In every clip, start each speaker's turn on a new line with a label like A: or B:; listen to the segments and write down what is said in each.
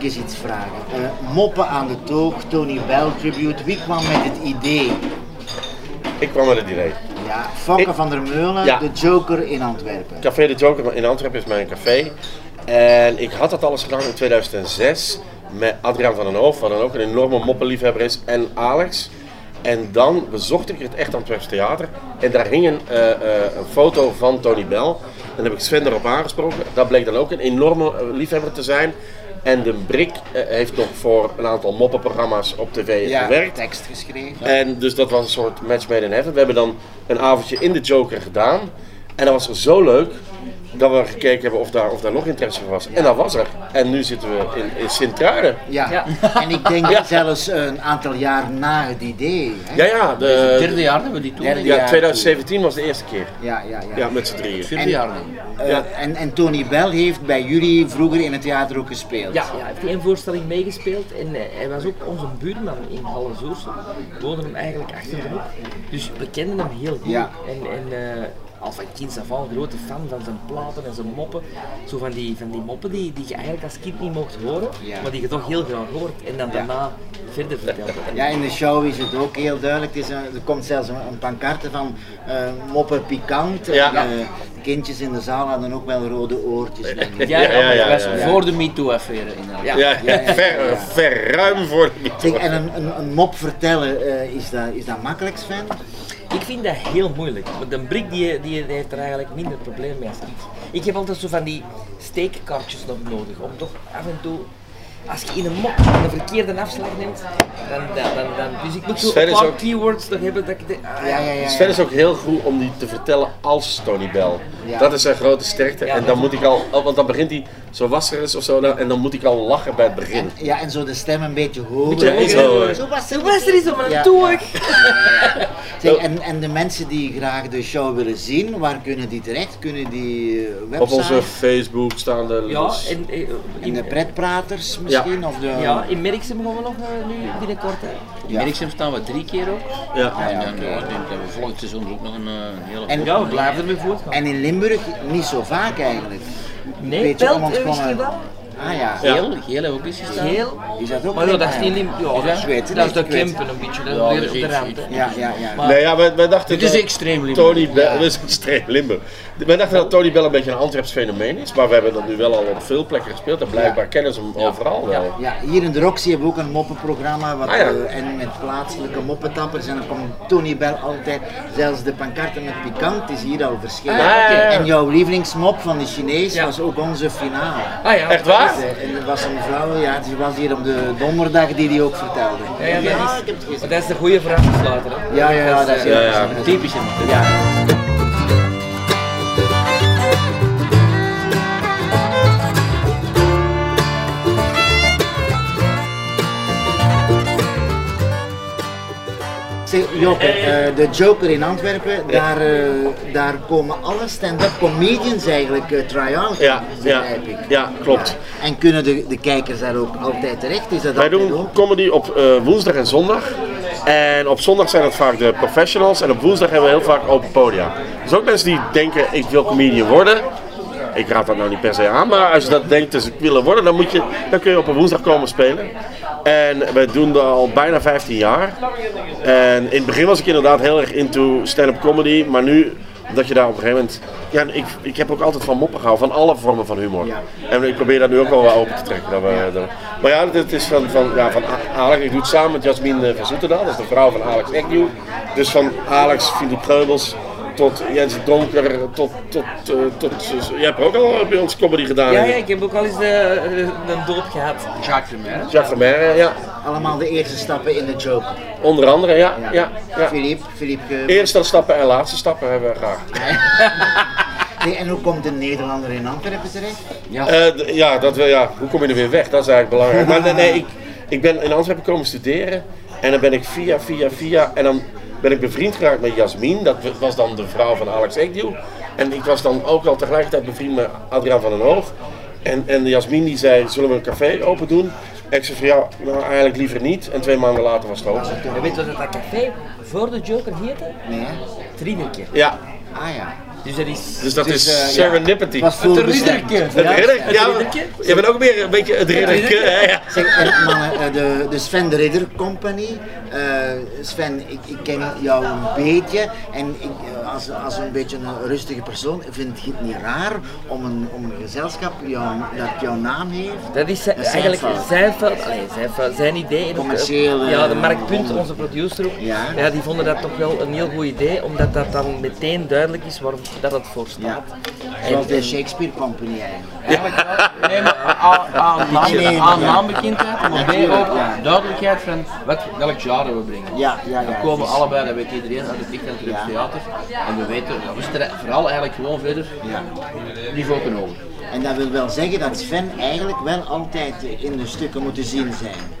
A: eens iets vragen. Eh, moppen aan de toog, Tony Bell tribute. Wie kwam met het idee?
B: Ik kwam met het idee.
A: Ja, Fokke
B: Ik-
A: van der Meulen,
B: Ja.
A: de Joker in Antwerpen.
B: Café de Joker in Antwerpen is mijn café. En ik had dat alles gedaan in 2006 met Adriaan van den Hoof, wat dan ook een enorme moppenliefhebber is, en Alex. En dan bezocht ik het echt Antwerps Theater en daar hing een, eh, eh, een foto van Tony Bell. En dan heb ik Sven erop aangesproken. Dat bleek dan ook een enorme eh, liefhebber te zijn. En de Brik eh, heeft nog voor een aantal moppenprogramma's op tv gewerkt.
A: tekst geschreven.
B: En dus dat was een soort match made in heaven. We hebben dan een avondje in de Joker gedaan. En dat was zo leuk dat we gekeken hebben of daar, of daar nog interesse voor was. En dat was er. En nu zitten we in, in Sint-Truiden.
A: Ja.
C: Ja.
A: en ik denk
B: Ja.
A: zelfs een aantal jaar na het idee. Hè?
B: Ja, ja. De,
C: Derde jaar hebben we die toen.
A: Derde
C: denk ik.
B: ja, 2017 was de eerste keer.
A: ja, ja. ja.
B: Ja, met z'n drieën.
C: Vierde jaar dan.
A: Eh,
B: Ja.
A: en, en Tony Bell heeft bij jullie vroeger in het theater ook gespeeld.
C: Ja, ja, hij heeft één voorstelling meegespeeld en eh, hij was ook onze buurman in Hallenzoersel. We woonden hem eigenlijk achter de hoek, dus we kenden hem heel goed.
A: Ja.
C: En, en eh, al van kinds af aan een grote fan van zijn platen en zijn moppen. Zo van die, van die moppen die, die je eigenlijk als kind niet mocht horen,
A: Ja.
C: maar die je toch heel graag hoort en dan daarna verder vertelt.
A: Ja, in de show is het ook heel duidelijk. Het is een- er komt zelfs een, een pancarte van eh moppen pikant.
B: Ja.
A: En, eh, de kindjes in de zaal hadden ook wel rode oortjes. denk ik.
C: Ja, ja,
B: ja, ja,
C: dat was
B: ja, ja.
C: voor de MeToo-affaire inderdaad.
B: Ja, ver,
A: ja.
B: ver ruim voor
A: Zeg, en een, een, een mop vertellen, eh, is, dat, is dat makkelijk Sven?
C: Ik vind dat heel moeilijk. Want een brik die, die, die heeft er eigenlijk minder probleem mee als ik. Ik heb altijd zo van die steekkaartjes nog nodig. Om toch af en toe, als je in een mop een verkeerde afslag neemt, dan, dan, dan, dan. Dus ik moet zo
B: Sven
C: een
B: is
C: paar
B: ook-
C: keywords nog hebben dat ik denk, ah,
A: Ja, ja, ja.
B: Sven is ook heel goed om die te vertellen als Tony Bell.
A: Ja.
B: Dat is zijn grote sterkte.
C: Ja,
B: en dan
C: dat-
B: moet ik al, oh, want dan begint hij, zo was er eens of zo, nou, en dan moet ik al lachen bij het begin.
A: Ja, en zo de stem een beetje hoger.
B: Beetje hoger.
A: Zo-
C: Zo was er, was er iets om een
A: Ja.
C: toeg.
A: Zeg, en, en de mensen die graag de show willen zien, waar kunnen die terecht? Kunnen die eh,
B: Op
A: website?
B: onze Facebook staan de
C: Ja, en, eh,
A: En de
C: in,
A: pretpraters misschien? Of de...
C: ja, in Merksem gaan we nog eh, nu binnenkort. hè.
A: Ja.
D: Merksem staan we drie keer ook.
B: Ja.
D: En dan ja, ik denk dat we volgend seizoen ook nog een, eh, een hele
A: En-
C: Ja, we blijven ermee voortgaan.
A: En in Limburg niet zo vaak eigenlijk. Een
C: Nee,
A: beetje
C: Pelt,
A: onontgonnen.
C: eh, wist je dat?
A: Ah ja.
D: Geel, geel hebben we ook eens gestaan.
C: Heel.
A: Is dat ook
C: Maar ja, dat is
A: Limburg?
C: niet lim-
A: Is
C: Ja,
A: dat Zweden?
C: dat is de
A: Ik weet-
C: kempen een beetje.
D: Ja,
C: Dat is weer
D: dat
C: op
D: is
C: de
D: iets-
C: ruimte.
A: Ja, ja, ja.
C: Maar-
B: Nee, ja, wij, wij dachten
D: Dit is
B: dat
D: extreem Limburg.
B: Tony Bell,
A: Ja.
B: dit is extreem Limburg. Wij dachten dat Tony Bell een beetje een Antwerps fenomeen is, maar we hebben dat nu wel al op veel plekken gespeeld en blijkbaar kennen ze hem overal wel.
A: Ja, hier in de Roxy hebben we ook een moppenprogramma. Wat,
B: Ah, ja.
A: eh, en met plaatselijke moppetappers. En dan komt Tony Bell altijd, zelfs de pancarte met pikant is hier al verschillend.
B: Ah, ja, ja, ja.
A: En jouw lievelingsmop van de Chinees
C: Ja.
A: was ook onze finale.
C: Ah ja.
B: Echt waar?
A: Dus, eh, En er was een vrouw, ja, die was hier op de donderdag die die ook vertelde.
C: Ja, ja, dat,
A: ik heb het
C: is,
A: gezien.
C: maar dat is de goede vraag te sluiten. Hè?
A: Ja, ja, ja, dat is
C: eh,
B: Ja, ja.
C: een typische.
A: Ja. Zeg, Joppe, eh, de Joker in Antwerpen, daar, eh, daar komen alle stand-up comedians eigenlijk eh, try-out,
B: Ja, ja,
A: begrijp ik.
B: ja, klopt.
A: En kunnen de, de kijkers daar ook altijd terecht? Is dat
B: Wij
A: altijd
B: doen
A: ook?
B: comedy op eh, woensdag en zondag. En op zondag zijn het vaak de professionals en op woensdag hebben we heel vaak open podia. Dus ook mensen die denken, ik wil comedian worden. Ik raad dat nou niet per se aan, maar als je dat denkt, dus ik willen worden, dan, moet je, dan kun je op een woensdag komen spelen. En we doen dat al bijna 15 jaar. En in het begin was ik inderdaad heel erg into stand-up comedy, maar nu, omdat je daar op een gegeven moment... Ja, en ik, ik heb ook altijd van moppen gehouden, van alle vormen van humor.
A: Ja.
B: En ik probeer dat nu ook wel wat open te trekken. Dat we, dat we- maar ja, het is van, van, ja, van A- Alex. Ik doe het samen met Jasmin eh, van Zoeterdaal, dat is de vrouw van Alex Agnew. Dus van Alex, Philip Geubels tot Jens Donker, tot... tot, eh, tot eh, jij hebt ook al bij ons comedy gedaan.
C: Ja,
B: hè?
C: ja, ik heb ook al eens eh, een doop gehad.
D: Jacques Vermeer.
B: Jacques Vermeer, ja.
A: Allemaal de eerste stappen in de Joker.
B: Onder andere, ja. ja. ja,
A: Philippe, Philippe eh,
B: Eerste stappen en laatste stappen hebben we graag.
A: Nee, en hoe komt een Nederlander in Antwerpen terecht?
B: Eh, d- ja, dat wil, ja, hoe kom je er weer weg? Dat is eigenlijk belangrijk. Maar nee, nee, ik, ik ben in Antwerpen komen studeren en dan ben ik via, via, via en dan ben ik bevriend geraakt met Jasmin. Dat w- was dan de vrouw van Alex Ekdeel. En ik was dan ook al tegelijkertijd bevriend met Adriaan van den Hoog. En, en Jasmin die zei, zullen we een café open doen? En ik zei van ja, nou eigenlijk liever niet. En twee maanden later was het open.
C: En weet je wat dat café voor de Joker heette?
A: Nee, hè?
C: Trinneke.
B: Ja,
A: Ah ja.
C: Dus dat is.
B: Dus dat
C: eh, ja.
B: is serendipity.
A: was
C: Het
A: voorbestemd.
C: ridderke.
B: Het
C: ja.
B: ridder,
C: Het
B: ja,
C: ridderke.
B: je bent ook weer een beetje het ridderke.
C: ridderke.
B: hè, ja.
A: Zeg, en, mannen, eh, de, de Sven de Ridder Company. Eh, Sven, ik, ik ken jou een beetje en ik, eh, als, als een beetje een rustige persoon vind ik het niet raar om een, om een gezelschap jou, dat jouw naam heeft.
C: Dat is zijn-
A: Dat is zijn
C: eigenlijk
A: fout.
C: zijn, fout, allee, zijn, fout, zijn idee. En ook,
A: Commercieel,
C: eh, Ja, de
A: eh,
C: Mark Punt,
A: onder-
C: onze producer ook,
A: Ja.
C: ja. die vonden dat toch wel een heel goed idee, omdat dat dan meteen duidelijk is waar dat het voor staat.
A: Zoals de Shakespeare Company eigenlijk.
D: Eigenlijk wel. Nee, maar A, A, naam-
A: Nee, nee,
D: A,
A: maar-
D: naambekendheid, maar B
A: Natuurlijk,
D: ook
A: ja.
D: duidelijkheid van wat, welk genre we brengen.
A: Ja, ja, ja.
D: We komen
A: het is-
D: allebei, dat weet iedereen, uit het licht en
A: Ja.
D: het theater. En we weten, ja, we strijden vooral eigenlijk gewoon verder,
A: Ja.
D: niveau ten hoger.
A: En dat wil wel zeggen dat Sven eigenlijk wel altijd in de stukken moet te zien zijn.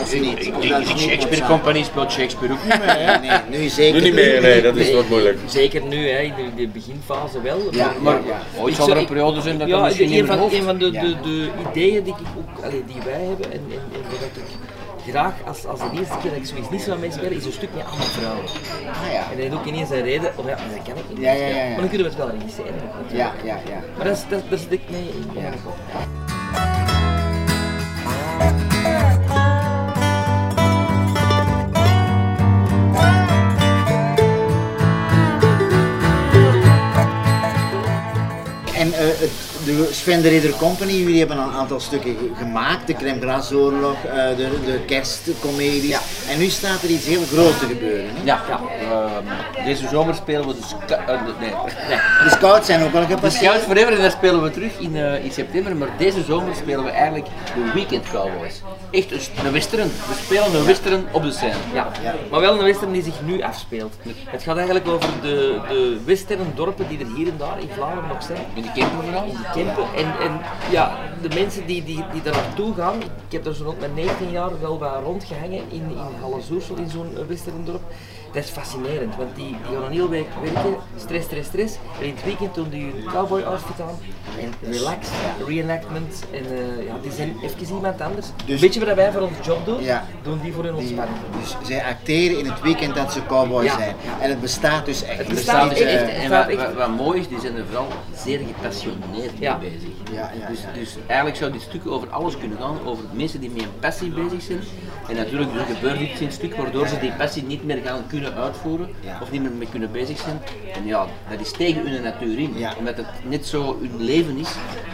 A: Of niet?
D: Ik
A: Of
D: denk,
A: dat
D: die
A: is niet
D: Shakespeare
A: opzaam.
D: Company speelt Shakespeare ook niet meer. hè.
A: Nee, nee, nu zeker
B: Nu niet meer, nee, dat is
C: Nee,
B: wat moeilijk.
C: Zeker nu, hè, in de- de beginfase wel.
A: Ja,
D: Maar
A: ja.
D: ooit
C: Ik
D: zal er
C: zou-
D: een periode zijn dat
C: ja,
D: dat misschien
C: de-
D: in
C: een
D: mijn
C: van,
D: hoofd...
C: een van de,
A: Ja.
C: de, de ideeën die, ik ook, allee, die wij hebben en, en, en wat ik graag als, als de eerste keer dat ik zoiets niet zou mensen spelen, is een stuk met allemaal vrouwen.
A: Ah, ja.
C: En dat heeft ook ineens een reden, of ja, dat kan ik niet.
A: Ja, ja, ja, ja.
C: Maar dan kunnen we het wel registreren.
A: Ja, ja, ja.
C: Maar dat, is- dat, daar zit ik mee in. Ja.
A: En eh, het, de Sven de Ridder Company, jullie hebben een aantal stukken ge- gemaakt. De Crème Glace Oorlog, eh, de, de kerstcomedies. En nu staat er iets heel groots te gebeuren. Hè?
D: Ja, ehm, deze zomer spelen we dus... ka- eh, nee, nee.
A: De scouts zijn ook wel
D: De Scout
A: gepasseerd.
D: Forever, en daar spelen we terug in, eh, in september, maar deze zomer spelen we eigenlijk de Weekend Cowboys. Echt een, st- een western. We spelen een western op de scène.
C: Ja. maar wel een western die zich nu afspeelt. Het gaat eigenlijk over de, de westerndorpen die er hier en daar in Vlaanderen nog zijn.
D: In de camper vooral.
C: Kempen. En, en ja, de mensen die, die, die daar naartoe gaan, ik heb daar zo rond mijn 19 jaar wel wat rondgehangen in, in Hallezoersel, in zo'n eh, westerndorp. Dat is fascinerend, want die, die gaan een heel week werken, stress, stress, stress. En in het weekend doen die hun cowboy outfit aan en relax, reenactment. En eh, ja, die zijn even iemand anders.
A: Dus-
C: Weet je wat wij voor onze job doen?
A: Ja.
C: Doen die voor hun
A: Die-
C: ontspanning.
A: Dus zij acteren in het weekend dat ze cowboy
C: Ja.
A: zijn. En het bestaat dus echt.
C: Het
D: Er
A: Dus
D: staan
C: bestaat
A: niet,
D: dus
C: echt,
A: eh,
D: echt,
C: echt.
D: en
C: staat
D: wat, wat, wat mooi is, die zijn er vooral zeer gepassioneerd
C: Ja.
D: mee bezig.
A: Ja, ja,
D: dus,
A: ja.
D: dus eigenlijk zou dit stuk over alles kunnen gaan, over mensen die met een passie bezig zijn. En natuurlijk dus gebeurt iets in het stuk waardoor ze die passie niet meer gaan kunnen uitvoeren
A: Ja.
D: of niet meer mee kunnen bezig zijn. En ja, dat is tegen hun natuur in,
A: Ja.
D: omdat het net zo hun leven is.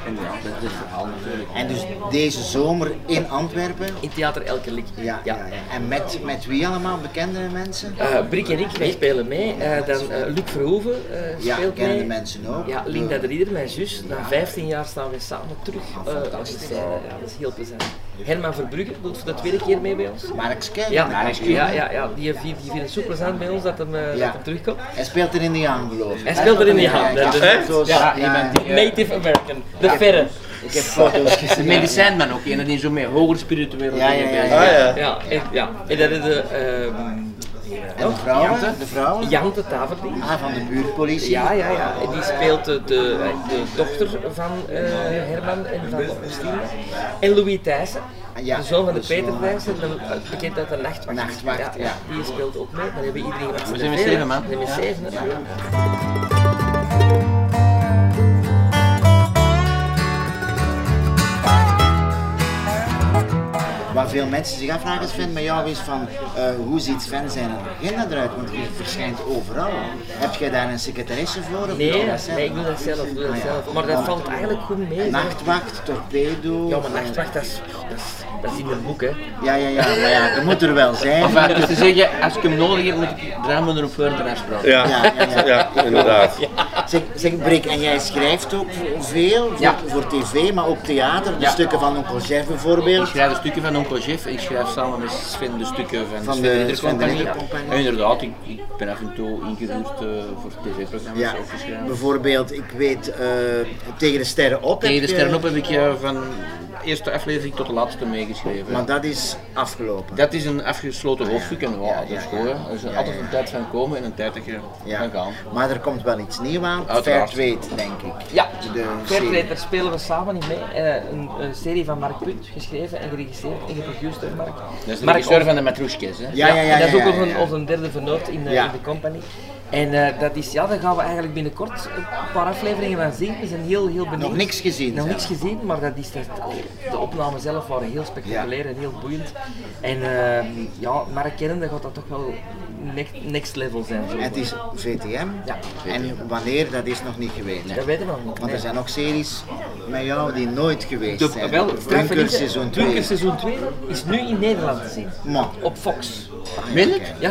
D: En ja, dat is het verhaal natuurlijk.
A: En dus deze zomer in Antwerpen.
C: In theater elke lik.
A: Ja, ja. ja. En met, met wie allemaal? Bekende mensen?
C: Eh, Brik en ik, wij spelen mee. Eh, dan eh, Luc Verhoeven eh,
A: Ja,
C: speelt
A: kennen
C: mee.
A: de mensen ook.
C: Ja, Linda de Rieder, mijn zus. Na 15 jaar staan we samen terug
A: Ah,
C: eh als het zijn. Ja, dat is heel plezant. Herman Verbrugge doet voor de tweede keer mee bij ons.
A: Marx Kemp.
C: Ja, ja, ja, ja. Die, vindt, die vindt het zo plezant bij ons dat hem, eh,
A: Ja.
C: dat hem terugkomt.
A: Hij speelt er in de aan, geloof ik.
C: Hij speelt er in de aan,
A: Ja,
C: dat is-
A: ja, zo-
D: Ja,
A: ja,
D: iemand die, eh,
C: Native American, de verre.
A: Ik heb foto's
D: de
A: gezien.
D: medicijnman ook, en die zo met hoger spirituele
A: Ja,
D: dingen
A: ja, ja,
D: bezig
A: ja.
D: is.
B: Ah, ja.
C: Ja, en, ja. en dat is de ehm
A: En de vrouwen? De vrouwen?
C: Jante Taverdienst.
A: Ah, van de buurtpolitie.
C: Ja, ja, ja. En die speelt de, de, de dochter van eh, Herman en van Augustine. En Louis Thijssen,
A: Ja,
C: de zoon van de
A: dat is
C: Peter
A: wel-
C: Thijssen, de- bekend uit de Nachtwacht.
A: Nachtwacht, ja.
C: Die speelt ook mee. Dan hebben we iedereen wat
D: We zijn met zeven, man.
C: We zijn met
D: Ja.
C: zeven, hè.
A: Waar veel mensen zich afvragen, Sven, met jou is van eh, hoe ziet Sven zijn agenda eruit? Want je verschijnt overal. Heb jij daar een secretaresse voor? Of doe
C: Nee,
A: je dat zelf?
C: nee, ik doe dat zelf. ik Doe dat
A: Ah, ja.
C: zelf. Maar dat valt eigenlijk goed mee.
A: Nachtwacht, torpedo.
C: Ja, maar Nachtwacht, dat is, dat is, dat is in een boek, hè.
A: Ja, ja, ja, maar ja, je moet er wel zijn.
D: Enfin, dus te zeggen, als ik hem nodig heb, moet ik draai me erop voor en afspraken.
B: Ja,
A: Ja, ja, ja.
B: ja, inderdaad.
A: Zeg, zeg Brik, en jij schrijft ook veel voor,
D: Ja.
A: voor tv, maar ook theater. De
D: Ja.
A: stukken van Onkel Jeff
D: Ik
A: bijvoorbeeld.
D: schrijf de stukken van Onkel Jeff en ik schrijf samen met Sven de stukken van,
A: Van
D: Sven
A: de
D: de Ridder
A: Sven de
D: Compagnie.
A: Ridder Compagnie.
D: En inderdaad, ik, ik ben af en toe ingehuurd eh, voor tv-programma's
A: Ja,
D: ook geschreven.
A: bijvoorbeeld, ik weet, eh, tegen de sterren op.
D: Tegen de
A: heb je-
D: Sterren op heb ik eh, van de eerste aflevering tot de laatste meegeschreven.
A: Maar dat is afgelopen.
D: dat is een afgesloten hoofdstuk en
A: ja,
D: wow, dat is
A: ja,
D: goed. hè.
A: ja.
D: Er is
A: Ja,
D: altijd
A: ja.
D: een tijd van komen en een tijd dat je kan gaan.
A: Maar er komt wel iets nieuws aan.
D: Uiteraard.
A: Fairtrade, denk ik.
C: Ja,
A: De
C: Fairtrade,
A: serie.
C: daar spelen we samen in mee. Eh, een, een serie van Mark Punt, geschreven en geregisseerd en geproduceerd door Mark.
D: Dat is de
C: Mark
D: regisseur
C: Ons-
D: van de Matroeskes. hè.
A: Ja, ja, ja.
C: en dat is
A: ja,
C: ook
A: ja,
C: onze,
A: ja.
C: onze derde vernoot in, eh,
A: Ja.
C: in de company. En eh, dat is, ja, daar gaan we eigenlijk binnenkort een paar afleveringen van zien. We zijn heel, heel benieuwd.
A: Nog niks gezien
C: Nog niks
A: zelf.
C: gezien, maar dat is dat, oh, de opnamen zelf waren heel spectaculair en heel boeiend. En eh, ja, Mark kennende gaat dat toch wel next, next level zijn. Zo.
A: En het is VTM.
C: Ja.
A: En wanneer, dat is nog niet geweest.
C: Dat weten we nog niet.
A: Want er
C: nee.
A: zijn ook series met jou die nooit geweest
D: De-
A: zijn.
D: wel,
C: Straffe
A: Bunker
C: Lieden,
A: seizoen
C: Bunker
A: 2.
C: seizoen 2 is nu in Nederland te zien.
A: Maar.
C: Op Fox.
A: Meen ik?
C: Ja.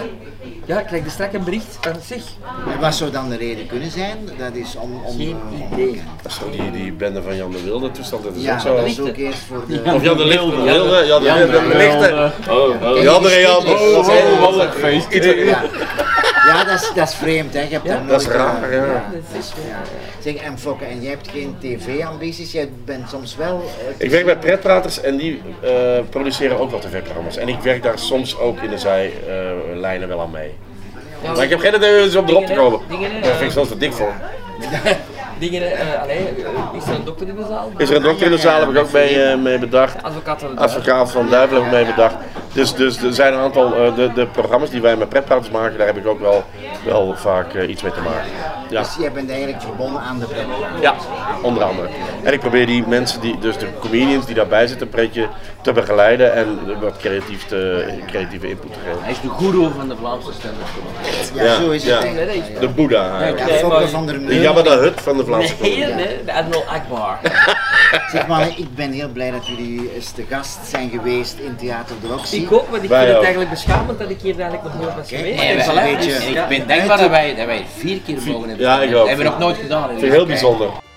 C: Ja, ik krijg er straks een bericht van zich.
A: En wat zou dan de reden kunnen zijn? Dat is om... om
C: Geen
A: eh,
C: idee.
B: Dat is toch die, die bende van Jan de Wilde toestand, dat is
A: Ja,
B: ook zo.
A: dat is ook eerst voor de...
B: Of Jan de Lichte. Jan de, Jan de,
A: Jan de
B: Wilde, de Lichte.
D: Oh, oh.
B: Jan de Jan. Oh, oh, wat een feest.
A: Ja, ja dat, is, dat is vreemd, hè. Je hebt daar
B: Dat is
A: nooit, eh,
B: raar, ja.
A: Zeg, en Fokke, en jij hebt geen tv-ambities, jij bent soms wel... eh,
B: Ik werk bij pretpraters en die eh, produceren ook wel tv-programma's. En ik werk daar soms ook in de zijlijnen wel aan mee. Maar ik heb geen idee om erop te komen.
C: Dingen, hè?
B: Daar vind ik zelfs te dik voor.
C: Dingen, eh, allee, eh, is er een dokter in de zaal?
B: Is er een dokter in de zaal, heb ik ook mee, eh, mee bedacht.
C: Advocaat van de duivel.
B: Advocaat van Duivel heb ik mee bedacht. Dus, dus er zijn een aantal, eh, de, de programma's die wij met pretpraters maken, daar heb ik ook wel, wel vaak eh, iets mee te maken. Ja.
A: Dus jij bent eigenlijk verbonden aan de pretpark.
B: Ja, onder andere. En ik probeer die mensen, die, dus de comedians die daarbij zitten, een beetje te begeleiden en wat creatief te, creatieve input te geven.
D: Hij is de guru van de Vlaamse stand-up comedy.
A: Ja, zo is het eigenlijk.
B: De Boeddha
A: Ja,
B: eigenlijk.
C: Nee,
A: Fokke
C: maar-
A: van der
B: De
A: Meulen.
B: Jabba de Hut van de Vlaamse comedy.
C: Nee, nee, de Admiral Akbar.
A: Zeg maar, ik ben heel blij dat jullie eens te gast zijn geweest in Theater de Roxy.
C: Ik ook, want ik
B: Wij
C: vind het
B: ook.
C: eigenlijk beschamend dat ik hier eigenlijk nog nooit was geweest.
A: maar
D: En
A: wij-
C: Voilà,
D: wij-
A: weet je,
C: dus,
D: en
C: ja.
D: ik ben dankbaar dat wij, dat wij het vier keer mogen hebben.
B: Ja, ik
D: gedaan.
B: ook.
D: Dat hebben we nog nooit gedaan.
B: Vind ik heel bijzonder.